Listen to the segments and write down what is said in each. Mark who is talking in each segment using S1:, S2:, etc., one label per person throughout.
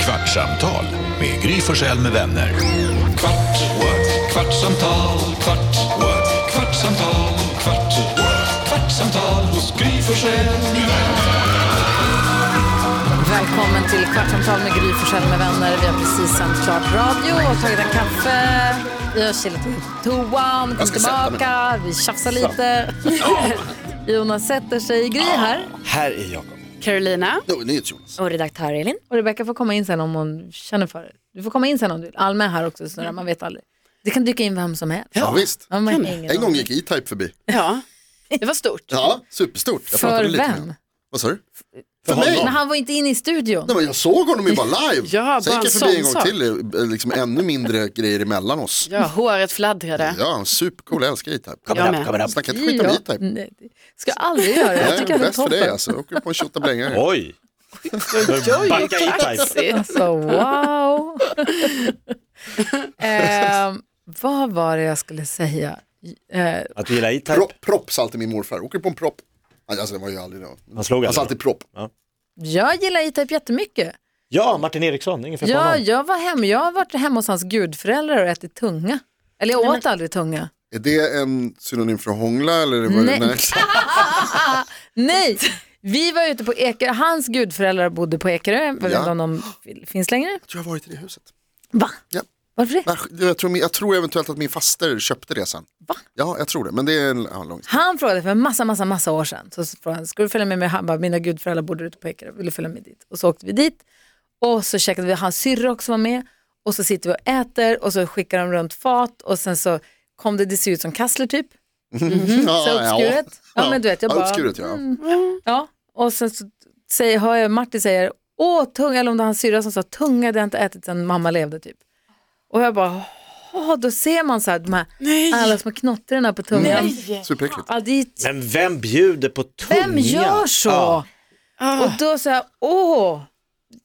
S1: Kvartsamtal med Gry Forssell med vänner.
S2: Kvart, what? kvartsamtal, kvart, what? kvartsamtal, kvart, what? kvartsamtal hos Gry Forssell med vänner.
S3: Välkommen till Kvartsamtal med Gry Forssell med vänner. Vi har precis sänt klart radio och tagit en kaffe. Vi har chillat på toan, kom
S4: ska sätta mig.
S3: tillbaka, vi tjafsar lite. Jonas sätter sig. Gry här.
S4: Här är Jakob.
S5: Carolina
S4: Jo, NyhetsJonas.
S5: och redaktör Elin.
S3: Och Rebecka får komma in sen om hon känner för det. Du får komma in sen om du vill. Alma är här också, så där, man vet aldrig. Det kan dyka in vem som helst.
S4: Ja, visst.
S3: Ja, man har ingen
S4: En gång
S3: aning.
S4: gick E-Type förbi.
S5: Ja, det var stort.
S4: Ja, superstort. Jag
S3: För
S4: pratade lite med
S3: vem?
S4: honom. Vad sa du? För mig?
S3: Men han var inte inne i studion.
S4: Nej, men jag såg honom ju bara live.
S5: Ja,
S4: Sen
S5: bara
S4: gick jag
S5: en
S4: förbi en
S5: sån
S4: gång till, eh, liksom ännu mindre grejer emellan oss.
S5: Ja, håret fladdrade.
S4: Ja, han är supercool, jag älskar E-Type.
S5: Jag med.
S4: Snacka inte skit om
S3: Ja,
S4: E-Type.
S3: nej, det ska jag aldrig göra. Jag
S4: Nej,
S3: tycker att det är
S4: bäst för dig
S3: toppen.
S4: alltså. Åker på en tjottablänga här.
S6: Oj! Backa i typ. tajt.
S3: Alltså wow. eh, vad var det jag skulle säga? Eh,
S6: Att du gillar typ. E-Type.
S4: Propp, propp sa alltid min morfar. Åker på en propp. Alltså det var ju aldrig det.
S6: Han slog
S4: Han sa
S6: aldrig.
S4: alltid propp.
S3: jag gillar E-Type jättemycket.
S6: Ja, Martin Eriksson, ingen fel på
S3: Ja,
S6: honom.
S3: jag, var hem, jag har varit hemma hos hans gudföräldrar och ätit tunga. Eller jag åt aldrig tunga.
S4: Är det en synonym för hångla eller? Vad
S3: Nej.
S4: det?
S3: Nej, vi var ute på Ekerö. Hans gudföräldrar bodde på Ekerö. Jag vet
S4: Ja.
S3: inte om de fin- finns längre.
S4: Jag tror jag har varit i det huset.
S3: Va?
S4: Ja.
S3: Varför det?
S4: Nej, Äh, Jag tror, min- jag tror eventuellt att min faster köpte det sen. Va? Ja, jag tror det. Men det är en ja, lång
S3: Han frågade för en massa, massa, massa år sedan. Så frågade han, ska du följa med mig? Han bara, mina gudföräldrar bodde ute på Ekerö, vill du följa med dit? Och så åkte vi dit och så käkade vi, hans syrra också var med. Och så sitter vi och äter och så skickar de runt fat och sen så kom det, det ser ut som kassler typ.
S4: Ja,
S3: Så uppskuret. Ja,
S4: Ja.
S3: men du vet, jag
S4: Ja,
S3: bara, Mm.
S4: uppskuret, ja.
S3: Ja, och sen så säger, hör jag Martin säger, åh tunga, eller om det var hans syrra som sa tunga, det har jag inte ätit sedan mamma levde typ. Och jag bara, åh, då ser man så här, de här, alla små knottrarna på tungan.
S4: Ja. Superäckligt.
S3: Ja, det är ju
S6: Men vem bjuder på tunga?
S3: Vem gör så?
S6: Ja.
S3: Och då sa jag, åh,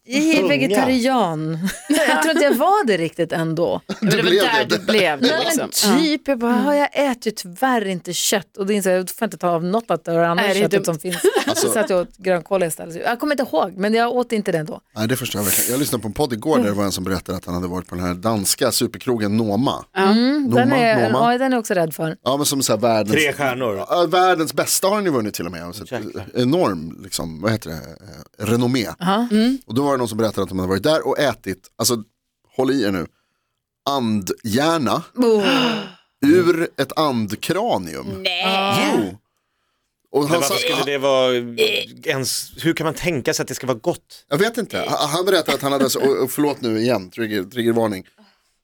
S3: jag är
S6: Tunga.
S3: vegetarian. jag tror inte jag var det riktigt ändå.
S5: Men det var
S4: blev
S5: där
S4: det.
S5: du blev det
S3: Nej, men
S5: liksom. Mm. Ja.
S3: typ, jag bara, "Ja, jag äter ju tyvärr inte kött. Och då inser jag, då får jag inte ta av något av det andra
S5: Nej, det är
S3: köttet
S5: dumt.
S3: som finns.
S4: Alltså-
S3: Så att jag åt grönkål istället. Jag kommer inte ihåg, men jag åt inte det ändå.
S4: Nej, det förstår jag verkligen. Jag lyssnade på en podd igår där det var en som berättade att han hade varit på den här danska superkrogen Noma.
S3: Mm, den,
S4: Noma,
S3: är,
S4: Noma.
S3: ja, den är jag också rädd för.
S4: Ja, men som så här världens...
S6: Tre stjärnor.
S4: Ja, världens bästa har han ju vunnit till och med. Alltså, ett
S6: Jäklar.
S4: enorm, liksom, vad heter det, Eh, renommé.
S3: Mm.
S4: Och då var det någon som berättade att de hade varit där och ätit, alltså håll i er nu, andhjärna ur ett andkranium. Nej.
S3: Ah.
S4: Jo. Och
S6: Men
S4: han sa,
S6: varför skulle det vara eh, ens, hur kan man tänka sig att det ska vara gott?
S4: jag vet inte, han han berättade att han hade, alltså, och- och förlåt nu igen, trigger, triggervarning.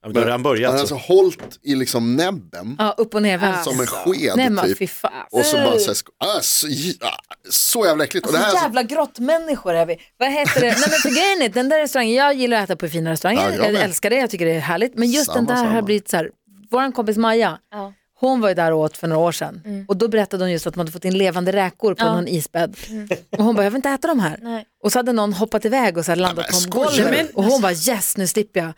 S6: Ja, men Då har han
S4: han hade
S6: börjat.
S4: alltså
S6: Så.
S4: hållit i liksom näbben
S3: Ja, upp och ner
S4: som en
S3: vänster.
S4: sked
S3: Nej men fy
S4: typ.
S3: fan.
S4: Och så bara så, här, sk- ah, så, j- ah, så jävla äckligt. Och det här,
S3: Alltså, jävla grottmänniskor är vi. Vad heter det? Nej men för grejen är, den där restaurangen, jag gillar att äta på fina restauranger,
S4: Ja, jag
S3: jag,
S4: med.
S3: älskar det, jag tycker det är härligt. Men just
S4: Samma,
S3: den där har
S4: samma.
S3: blivit så här, vår kompis Maja, hon var ju där och åt för några år sedan. Och då berättade hon just att man hade fått in levande räkor på någon isbädd. Och hon bara, jag vill inte äta de här. Och så hade någon hoppat iväg och så här landat
S4: men
S3: på
S4: skojar
S3: golvet. Och hon bara, yes nu slipper jag.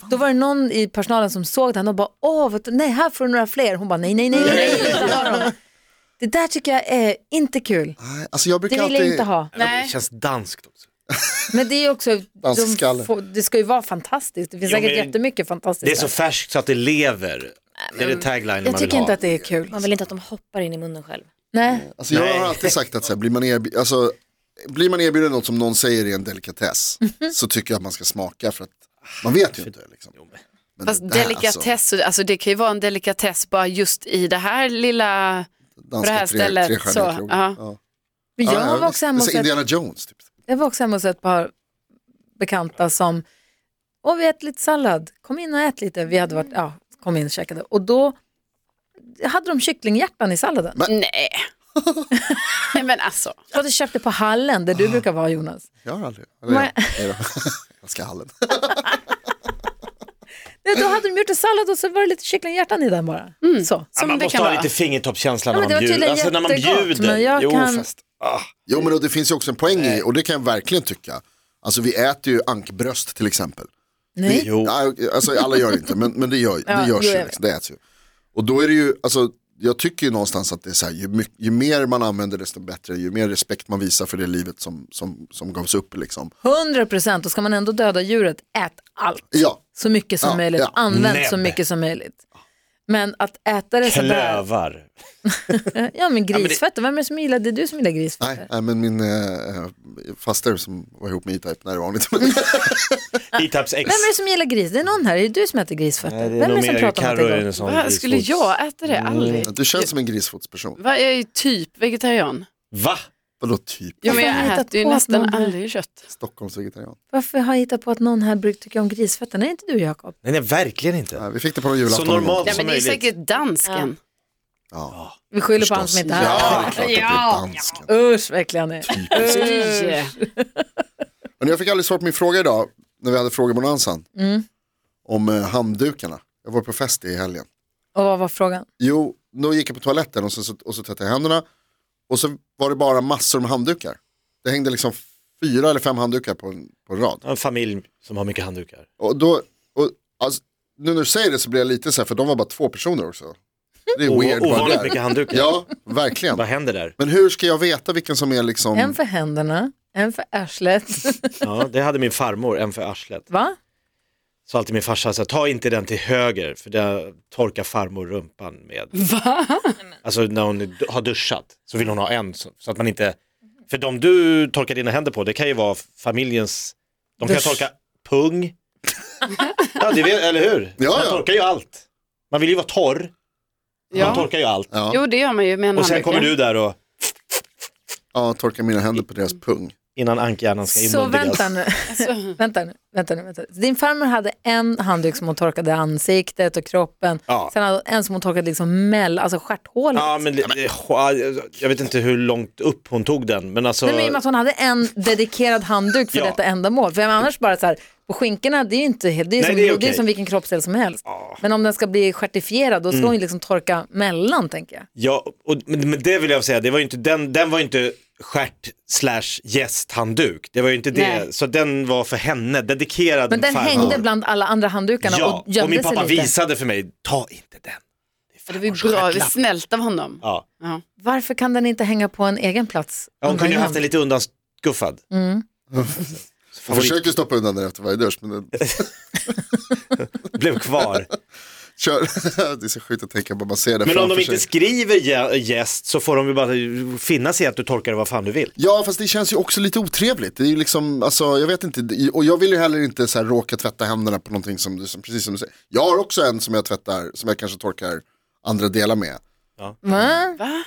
S3: Och då var det någon i personalen som såg den och bara, åh, vet du, nej här får du några fler. Hon bara, nej, nej, nej, nej, nej, inte ha dem." Det där tycker jag är inte kul.
S4: Nej, alltså jag brukar
S3: Det vill jag
S4: alltid...
S3: inte ha.
S6: Det känns danskt också.
S3: Men det är ju också, de
S4: Dansskalle.
S3: får, det ska ju vara fantastiskt. Det finns
S6: Jo,
S3: säkert
S6: men-
S3: jättemycket fantastiskt.
S6: Det är så
S3: där.
S6: färskt så att det lever. Det är det taglinen
S3: jag
S6: man vill
S3: tycker inte
S6: ha.
S3: att det är kul.
S7: Man vill inte att de hoppar in i munnen själv.
S3: Nej.
S4: Alltså jag
S6: Nej.
S4: har alltid sagt att så här, blir, man erbjuden, alltså, blir man erbjuden något som någon säger är en delikatess så tycker jag att man ska smaka för att man vet ju inte. Liksom. Men
S5: Fast
S4: det alltså- där,
S5: delikatess, alltså det kan ju vara en delikatess bara just i det här lilla,
S4: danska
S5: på det här
S4: tre-
S5: stället,
S4: trestjärniga
S5: så,
S4: krogen.
S5: ja.
S4: Ja.
S3: Men jag,
S4: Ja, ja,
S3: var
S4: visst.
S3: också hemma
S4: Det är så
S3: hos ett,
S4: Indiana Jones. Typ.
S3: jag var också hemma hos ett par bekanta som, åh vi äter lite sallad, kom in och ät lite. Vi hade varit, ja, kom in och käkade. Och då hade de kycklinghjärtan i salladen.
S5: nej. nej men alltså,
S3: Jag hade köpt det på hallen där du
S4: Ah.
S3: brukar vara Jonas.
S4: Jag har aldrig, eller
S3: Nej.
S4: jag, nej då. jag ska hallen.
S3: Nej, då hade de gjort en sallad och så var det lite kycklinghjärtan i den bara.
S7: Mm.
S3: Så.
S6: Ja,
S5: som
S6: man
S5: det
S6: måste
S5: kan
S6: ha
S5: vara.
S6: lite fingertoppskänsla
S3: Ja,
S6: när
S3: men det var
S6: man bjuder.
S3: tydligen
S6: Alltså när man
S3: jättegott,
S6: bjuder.
S3: men jag
S6: Jo,
S3: kan-
S6: fast. Ah,
S4: Jo men och det finns ju också en poäng i, och det kan jag verkligen tycka. Alltså vi äter ju ankbröst till exempel.
S3: Nej.
S6: jo.
S4: Nej, alltså alla gör inte, men, men det gör,
S3: Ja,
S4: det görs
S3: jo, jag
S4: ju.
S3: vet.
S4: Liksom, det äts ju. Och då är det ju, alltså, jag tycker ju någonstans att det är så här, ju, my- ju mer man använder desto bättre, ju mer respekt man visar för det livet som, som, som gavs upp liksom.
S3: 100 procent, och ska man ändå döda djuret, ät allt.
S4: Ja,
S3: Så mycket som
S4: Ja,
S3: möjligt,
S4: ja.
S3: använd så
S6: Näbb.
S3: mycket som möjligt. Men att äta det sådär,
S6: Klövar.
S3: ja men grisfett, vem är det som gillar det? Det är du som gillar grisfett.
S4: nej, nej men min eh, faster som var ihop med E-Type, när det var vanligt.
S6: E-Types X.
S3: Vem är det som gillar gris? Det är någon här, det är du som äter grisfett.
S6: Nej,
S3: Vem är det som pratar om att det är gott?
S6: sån
S5: Va, skulle
S6: grisfots.
S5: jag äta det?
S6: Mm.
S5: Aldrig.
S4: du känns som en grisfotsperson.
S5: Va, jag är ju typ vegetarian.
S6: Va?
S4: Vadå typ
S5: Ja, men
S3: Varför har ni
S5: jag
S3: hittat
S5: äter ju
S3: på att man
S5: nästan
S3: blir-
S5: aldrig kött.
S4: Stockholmsvegetarian?
S3: Varför har jag hittat på att någon här brukar tycka om grisfetten? Är det inte du Jakob?
S6: Nej, nej, verkligen inte.
S4: Nej, vi fick det på någon julafton.
S6: Så normalt-
S5: Nej, men det är
S6: möjligt.
S5: säkert dansken.
S4: Ja,
S3: Vi skyller på han
S4: förstås.
S3: som inte är
S4: Ja, det
S3: här.
S4: är klart att det är dansken.
S3: Usch vad äcklig han är.
S5: Oj.
S4: Men jag fick aldrig svar på min fråga idag, när vi hade frågebonanzan. Om eh, handdukarna. Jag var på fest i helgen.
S3: Och vad var frågan?
S4: Jo, då gick jag på toaletten och så, så, och så tvättade jag händerna. Och så var det bara massor med handdukar. Det hängde liksom fyra eller fem handdukar på en, på en rad.
S6: En familj som har mycket handdukar.
S4: Och då, och, alltså, nu när du säger det så blir jag lite så här, för de var bara två personer också. Det är
S6: O-
S4: weird. bara
S6: ovanligt
S4: där.
S6: mycket handdukar.
S4: Ja, verkligen.
S6: Vad händer där?
S4: Men hur ska jag veta vilken som är
S3: En
S4: liksom,
S3: för händerna, en för arslet.
S6: Ja, det hade min farmor, en för arslet.
S3: Va?
S6: Så alltid min farsa, så här, ta inte den till höger för det torkar farmor rumpan med. Va? Alltså när hon du- har duschat så vill hon ha en så, så att man inte, för de du torkar dina händer på det kan ju vara familjens, de kan ju
S3: Dusch.
S6: torka pung, ja, det vet, eller hur?
S4: Ja,
S6: man
S4: ja.
S6: torkar ju allt. Man vill ju vara torr, man
S5: Ja.
S6: torkar ju allt.
S4: ja,
S5: Jo, det gör man ju med en
S3: Mm.
S6: Och sen
S5: handduk,
S6: kommer
S5: ja.
S6: du där och
S4: ja, torka mina händer på deras pung.
S6: innan ankhjärnan ska
S3: Så
S6: inmundigas.
S3: vänta nu. vänta nu, vänta nu, vänta. Din farmor hade en handduk som hon torkade ansiktet och kroppen.
S6: Ja.
S3: Sen hade hon en som hon torkade liksom mell, alltså stjärthålet.
S6: Ja, men, det- det- jag vet inte hur långt upp hon tog den, men alltså...
S3: Nej, men i och med att hon hade en dedikerad handduk för
S6: Ja.
S3: detta ändamål. För annars bara så här, på skinkorna, det är ju inte helt, det är, ju
S6: Nej,
S3: som,
S6: det är
S3: det är
S6: okej.
S3: som vilken kroppsdel som helst. Men om den ska bli stjärtifierad, då ska
S6: Mm.
S3: hon ju liksom torka mellan tänker jag.
S6: Ja, och, men, men det vill jag säga, det var ju inte, den, den var ju inte stjärt slash gästhandduk. Det var ju inte det,
S5: Nej.
S6: så den var för henne, dedikerad
S3: Men den
S6: farmor.
S3: hängde bland alla andra handdukarna
S6: Ja,
S3: och
S6: och,
S3: gömde
S6: min pappa
S3: sig lite.
S6: visade för mig, ta inte den.
S5: Det var ju bra, det var snällt av honom.
S6: Ja.
S5: Ja.
S3: Varför kan den inte hänga på en egen plats?
S6: Ja, hon kunde ju
S3: undan
S6: haft den
S3: gömd?
S6: lite undanskuffad.
S3: Mm.
S4: Jag försökte stoppa undan det efter varje dusch, men det,
S6: Blev kvar.
S4: kör. det är så sjukt att tänka på, man ser det
S6: Men om
S4: framför
S6: de inte
S4: sig.
S6: skriver gä- gäst så får de ju bara finna sig i att du torkar det vad fan du vill.
S4: Ja, fast det känns ju också lite otrevligt. Det är ju liksom, alltså, jag vet inte, det- och jag vill ju heller inte så här råka tvätta händerna på någonting som, du- som, precis som du säger. Jag har också en som jag tvättar, som jag kanske torkar andra delar med.
S3: Va?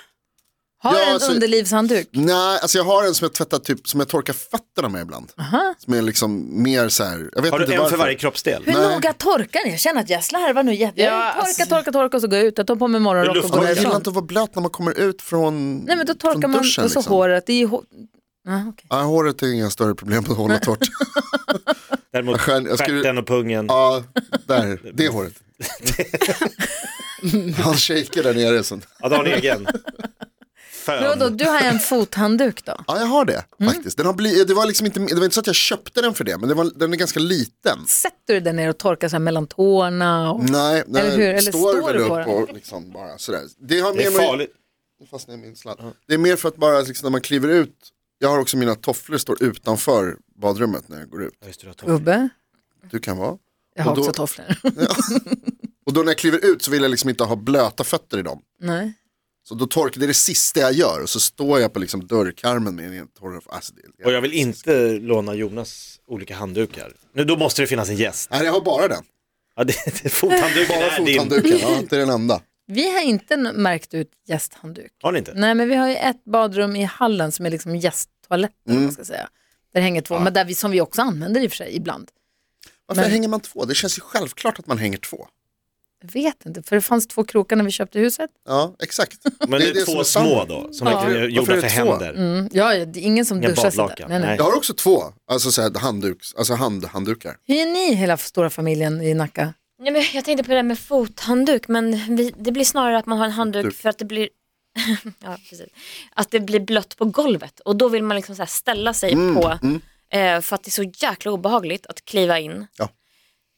S3: Har
S4: Ja,
S3: en
S4: alltså-
S3: underlivshandduk?
S4: Nej, alltså jag har en som jag tvättar typ, som jag torkar fötterna med ibland. Som är liksom mer så här, jag vet
S6: Har
S4: inte
S6: du en
S4: varför.
S6: för varje kroppsdel?
S3: Hur
S4: Nej.
S3: noga torkar ni? Jag känner att jag slarvar nu jätte.
S5: Ja,
S3: jag torkar,
S5: alltså-
S3: torkar, torkar och så går jag ut. Jag tar på mig morgonrock och går
S6: lufttorkar.
S4: Jag gillar
S3: därifrån.
S4: inte att vara blöt när man kommer ut från
S3: Nej men då
S4: från
S3: torkar man
S4: duschen,
S3: och så
S4: liksom.
S3: håret. Det är ju hår... ah, okej.
S4: Ja, håret är inga större problem att hålla torrt.
S6: Däremot
S4: skön- jag skulle-
S6: stjärten och pungen.
S4: ja, där, det håret. Han shaker där nere. Så.
S6: Ja, du har en egen.
S3: Men vadå,
S6: Fön.
S3: du har en fothandduk då?
S4: Ja, jag har det
S3: Mm.
S4: faktiskt. Den har bli, det, var liksom inte, det var inte så att jag köpte den för det, men det var, den är ganska liten.
S3: Sätter du den ner och torkar så här mellan tårna? Och...
S4: Nej, den
S3: Eller hur? Eller står
S4: väl
S3: du
S4: upp
S3: på den?
S4: och liksom bara sådär. Det, har
S6: Det är
S4: mer med-
S6: farligt.
S4: Nu fastnar jag i min sladd. Det är mer för att bara liksom, när man kliver ut, jag har också mina tofflor står utanför badrummet när jag går ut.
S6: Ja, just det, du har torkat.
S3: Gubbe,
S4: Du kan vara.
S3: jag har
S4: Och då-
S3: också tofflor.
S4: Och då när jag kliver ut så vill jag liksom inte ha blöta fötter i dem.
S3: Nej.
S4: Så då torkar det är det sista jag gör och så står jag på liksom dörrkarmen med en torr... Alltså, det,
S6: Och jag vill inte låna Jonas olika handdukar. Nu, då måste det finnas en gäst.
S4: Nej, jag har bara den.
S6: Ja, det, det, fothandduken
S4: Bara
S6: är din.
S4: fothandduken, ja, inte den enda.
S3: Vi har inte n- märkt ut gästhandduk.
S6: Har ni inte?
S3: Nej, men vi har ju ett badrum i hallen som är liksom gästtoaletten,
S4: Mm.
S3: om man ska säga. Där hänger två, men där vi, som vi också använder i och för sig ibland.
S4: Varför
S3: Men-
S4: hänger man två? Det känns ju självklart att man hänger två.
S3: Jag vet inte, för det fanns två krokar när vi köpte huset.
S4: Ja, exakt.
S6: Men det är,
S4: som
S6: två
S4: standard.
S6: små då, som
S3: Ja.
S4: Varför
S6: verkligen är
S4: är
S6: gjorda
S4: det
S6: för
S4: två?
S6: händer.
S3: Mm, ja, ja, det är ingen som
S6: Inga
S3: duschar sådär.
S6: badlakan.
S3: Nej, nej.
S6: Nej.
S4: Jag har också två, alltså, så här, handduks, alltså handhanddukar.
S3: Hyr ni hela stora familjen i Nacka?
S7: Nej, men jag tänkte på det där med fothandduk, men vi, det blir snarare att man har en handduk
S4: Handduk.
S7: för att det blir ja, precis. Att det blir blött på golvet och då vill man liksom så här ställa sig på eh, för att det är så jäkla obehagligt att kliva in.
S4: Ja.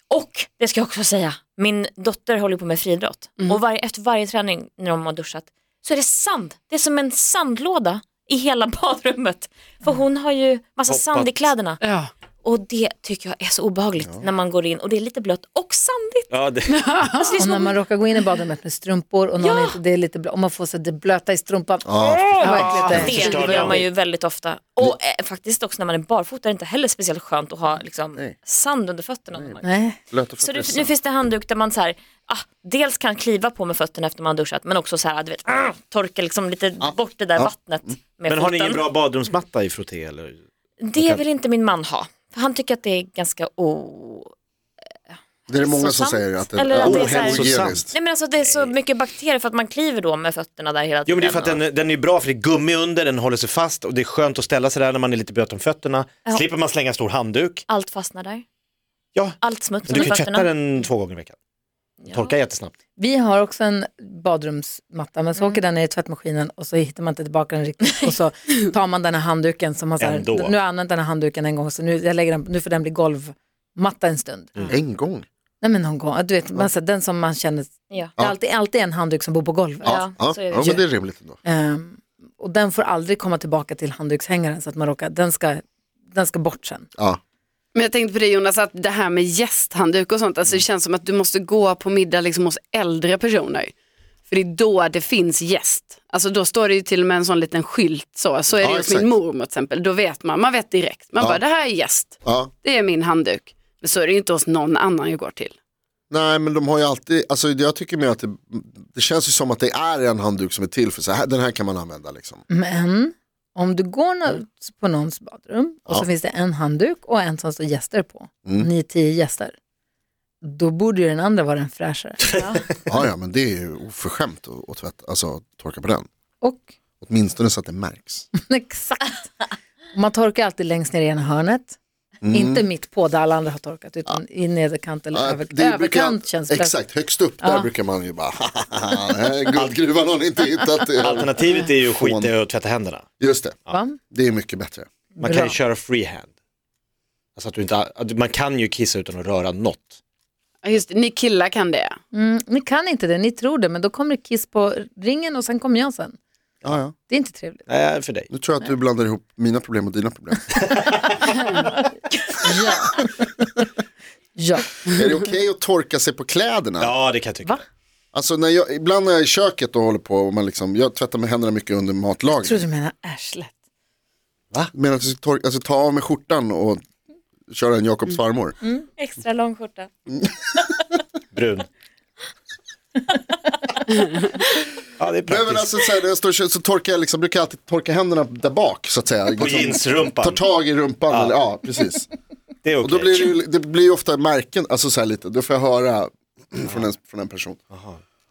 S7: Och det ska jag också säga, min dotter håller på med friidrott och varje, efter varje träning när de har duschat så är det sand, det är som en sandlåda i hela badrummet. För hon har ju massa
S6: Hoppat.
S7: sand i kläderna
S5: Ja.
S7: och det tycker jag är så obehagligt när man går in och det är lite blött och sandigt.
S6: Ja, det,
S7: Alltså, det är
S3: Och
S7: som
S3: när
S7: att-
S3: man råkar gå in i badrummet med strumpor och någon inte, det är lite blö, och man får så det blöta i strumpan.
S4: Ja,
S3: Åh, vad äckligt det är.
S7: Det
S6: förstör
S7: gör man
S6: det.
S7: ju väldigt ofta. Och eh, faktiskt också när man är barfota är det inte heller speciellt skönt att ha liksom, sand under fötterna. någon gång.
S3: Nej.
S4: blöta
S7: Så det,
S4: fötter.
S7: nu finns det handduk där man så här, ah, dels kan kliva på med fötterna efter man har duschat men också så här, du vet, ah, torka liksom lite bort det där vattnet med
S6: Ah. Mm. men har ni
S7: foten.
S6: ingen bra badrumsmatta i frotté eller?
S7: Det vill inte min man ha. För han tycker att det är ganska o...
S4: Det är det många
S7: så
S4: som
S7: sant.
S4: säger att det
S7: Eller
S4: är
S7: att det är så här-
S4: ohälsosamt.
S7: Nej men alltså det är så mycket bakterier för att man kliver då med fötterna där hela
S6: Jo
S7: tiden.
S6: men det är för att den,
S7: och-
S6: den är bra för det är gummi under, den håller sig fast och det är skönt att ställa sig där när man är lite blöt om fötterna.
S7: Ja.
S6: Slipper man slänga en stor handduk.
S7: Allt fastnar där.
S6: Ja,
S7: Allt smuts
S6: men du kan
S7: under
S6: ju tvätta
S7: fötterna.
S6: den två gånger i veckan. Torka jättesnabbt.
S3: Vi har också en badrumsmatta men så
S7: Mm.
S3: åker den ner i tvättmaskinen och så hittar man inte tillbaka den riktigt och så tar man den här handduken som man så här,
S6: Ändå.
S3: nu har jag använt den här handduken en gång så nu, jag lägger den, nu får den bli golvmatta en stund.
S4: En gång.
S3: Nej men någon gång, du vet, man, så här, den som man känner,
S7: Ja.
S3: det är alltid, alltid en handduk som bor på golvet.
S4: Ja, ja,
S7: Ja, så är det.
S4: ja, men det är rimligt ändå.
S3: Ehm, och den får aldrig komma tillbaka till handdukshängaren så att man råkar, den ska, den ska bort sen.
S4: Ja.
S5: Men jag tänkte på det Jonas, att det här med gästhandduk och sånt, alltså,
S6: Mm.
S5: det känns som att du måste gå på middag liksom, hos äldre personer. För det är då det finns gäst. Alltså då står det ju till och med en sån liten skylt så. Så är
S4: Ja,
S5: det ju hos
S4: exakt.
S5: min mormor till exempel. Då vet man, man vet direkt. Man
S4: Ja.
S5: bara, det här är gäst.
S4: Ja.
S5: Det är min handduk. Men så är det ju inte hos någon annan jag går till.
S4: Nej men de har ju alltid, alltså jag tycker mer att det, det känns ju som att det är en handduk som är till för så här, den här kan man använda liksom.
S3: Men om du går nå- på någons badrum och så
S4: Ja. Mm.
S3: finns det en handduk och en som står gäster på, ni är tio gäster, då borde ju den andra vara den fräschare.
S4: Ja ja men det är ju oförskämt att, att tvätta, alltså att torka på den.
S3: Och
S4: Åtminstone så att det märks.
S3: exakt, man torkar alltid längst ner i ena hörnet, inte mitt på där alla andra har torkat utan i nederkant eller
S4: Mm. Ja,
S3: över,
S4: det brukar-
S3: överkant känns bäst.
S4: Exakt, högst upp där brukar man ju bara, "Hahaha, den här guldgruvan har ni inte hittat.
S6: Alternativet är ju att skita i att tvätta händerna.
S4: Just det,
S3: Va?
S4: det är mycket bättre.
S6: Man kan
S3: Bra.
S6: ju köra freehand. Alltså att du inte, att man kan ju kissa utan att röra något.
S5: Ja, Just det, ni killar kan det.
S3: Mm, ni kan inte det, ni tror det, men då kommer det kiss på ringen och sen kommer jag sen.
S4: Ja, ja.
S3: Det är inte trevligt.
S6: Nej, för dig.
S4: Nu tror jag att du blandar ihop mina problem och dina problem.
S3: Ja. ja.
S4: är det okej att torka sig på kläderna?
S6: Ja, det kan jag tycka.
S3: Va?
S4: Alltså när jag, ibland när jag är i köket och håller på och man liksom, jag tvättar med händerna mycket under
S3: Jag tror
S4: matlagning.
S3: du menar arslet.
S4: Men att jag tor- alltså, ta av mig skjortan och köra en Jakobs farmor.
S7: Extra lång skjorta.
S6: Brun. ja, det är
S4: Nej,
S6: praktiskt.
S4: men alltså, så, här, när jag står, och kör- så torkar jag liksom, brukar jag alltid torka händerna där bak så att säga. Liksom,
S6: På jeansrumpan.
S4: Tar tag i rumpan, ja, eller, ja precis.
S6: Det är
S4: Och
S6: okej.
S4: då blir det, ju, det blir ju ofta märken, alltså så här lite, då får jag höra från en, från en person.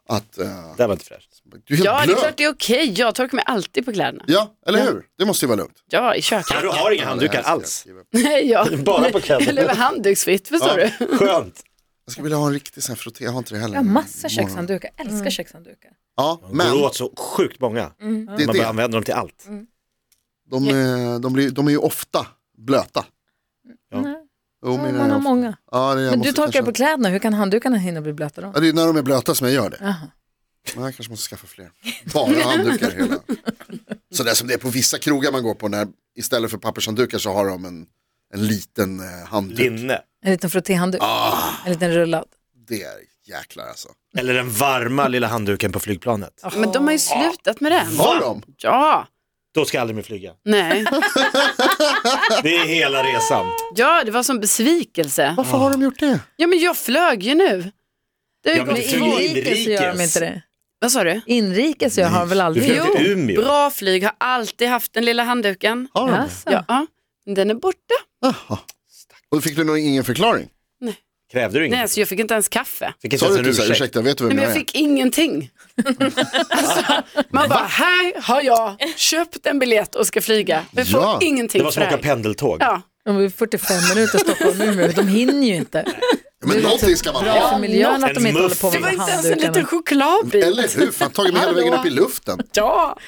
S4: Att eh,
S6: Det här var inte fräscht.
S4: du är helt
S5: Ja, det är
S4: blöt.
S5: klart det är okej. Jag torkar mig alltid på kläderna.
S4: Ja, eller hur? Det måste ju vara lugnt.
S5: Ja, i köket.
S6: Ja, du har inga handdukar alls.
S5: Nej, jag,
S6: Bara på kläderna.
S5: jag lever handduksfritt, förstår du?
S6: Skönt.
S4: Jag skulle vilja ha en riktig sån här frotté, jag har inte det heller.
S3: Jag har massa kökshanddukar, jag älskar kökshanddukar.
S4: Ja,
S6: Men... Går
S4: men
S6: åt så sjukt många.
S4: det är
S6: Man börjar
S4: det.
S6: använda dem till allt.
S4: De, är- de, blir, de är ju ofta blöta.
S6: Ja.
S4: Jo, men
S3: Mm. man har
S4: jag-
S3: många.
S4: Ja, det
S3: Men
S4: jag
S3: du
S4: måste
S3: torkar på
S4: kanske-
S3: kläderna, hur kan handdukarna hinna bli blöta då?
S4: Ja, det är när de är blöta som jag gör det.
S3: Jaha.
S4: Men jag kanske måste skaffa fler. Bara handdukar hela. Så det är som det är på vissa krogar man går på när istället för pappershanddukar så har de en, en liten eh, handduk.
S6: Linne.
S3: En liten frottéhandduk,
S4: Ah!
S3: en liten rullad.
S4: Det är jäklar alltså.
S6: Eller den varma lilla handduken på flygplanet.
S5: Men de har ju slutat med den.
S4: Har de?
S5: Ja,
S6: Då ska jag aldrig mer flyga.
S5: nej.
S6: Det är hela resan.
S5: Ja, det var som besvikelse.
S4: Varför har de gjort det?
S5: Ja, men jag flög ju nu. Det har ju
S6: Ja, men
S5: gått
S6: det flyger
S5: två-
S6: ju in.
S3: Inrikes så gör de
S6: Inrikes.
S3: inte det.
S5: Vad sa du?
S3: Inrikes gör har väl
S6: Du
S3: aldrig
S6: flög
S5: Jo,
S6: till Umeå.
S5: Bra flyg, har alltid haft den lilla handduken.
S4: Har de? det?
S3: Jaså.
S5: Ja, ja. Men den är borta.
S4: Jaha. Och fick du nog ingen förklaring?
S6: Krävde du
S5: Nej,
S6: inget?
S5: alltså jag fick inte ens kaffe.
S6: Fick inte
S4: Sa
S6: ens
S4: du
S6: en
S4: inte så här,
S6: ursäkt.
S4: ursäkta, vet du vem
S5: Nej, men
S4: jag
S5: jag
S4: är?
S5: fick ingenting. alltså, man bara, här har jag köpt en biljett och ska flyga. Men får
S4: Ja.
S5: ingenting
S6: Det var som att
S5: för
S6: åka
S5: det här.
S6: pendeltåg.
S5: Ja,
S3: De är 45 minuter i Stockholm nu, men de hinner ju inte.
S4: Men någonting ska man
S3: Bra
S4: ha.
S3: för miljön att de
S6: En
S3: inte håller på
S5: det
S3: med
S5: var inte ens en
S3: handdukarna.
S5: liten chokladbit.
S4: Eller hur? Fan, tagit mig hela vägen upp i luften.
S5: Ja.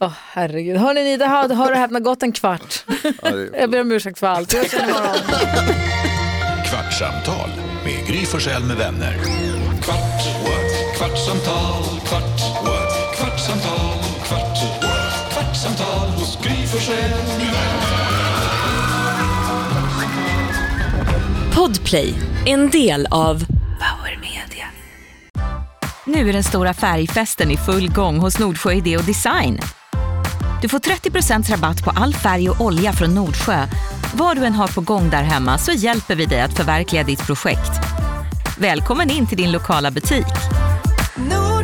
S3: Åh herregud. Hörni, ni, det har, har det häpnat gått en kvart.
S4: Ja, det är-
S3: Jag ber om ursäkt för allt. Jag känner imorgon.
S1: Kvartsamtal med med Gry Forssell med vänner.
S2: kvart, what? kvartsamtal, kvart, what? kvartsamtal, kvart, what? kvartsamtal hos Gry Forssell med vänner.
S8: Podplay, en del av
S9: Nu är den stora färgfesten i full gång hos Nordsjö Idé och Design. Du får 30 rabatt på all färg och olja från Nordsjö. Vad du än har på gång där hemma så hjälper vi dig att förverkliga ditt projekt. Välkommen in till din lokala butik.
S8: Nordsjö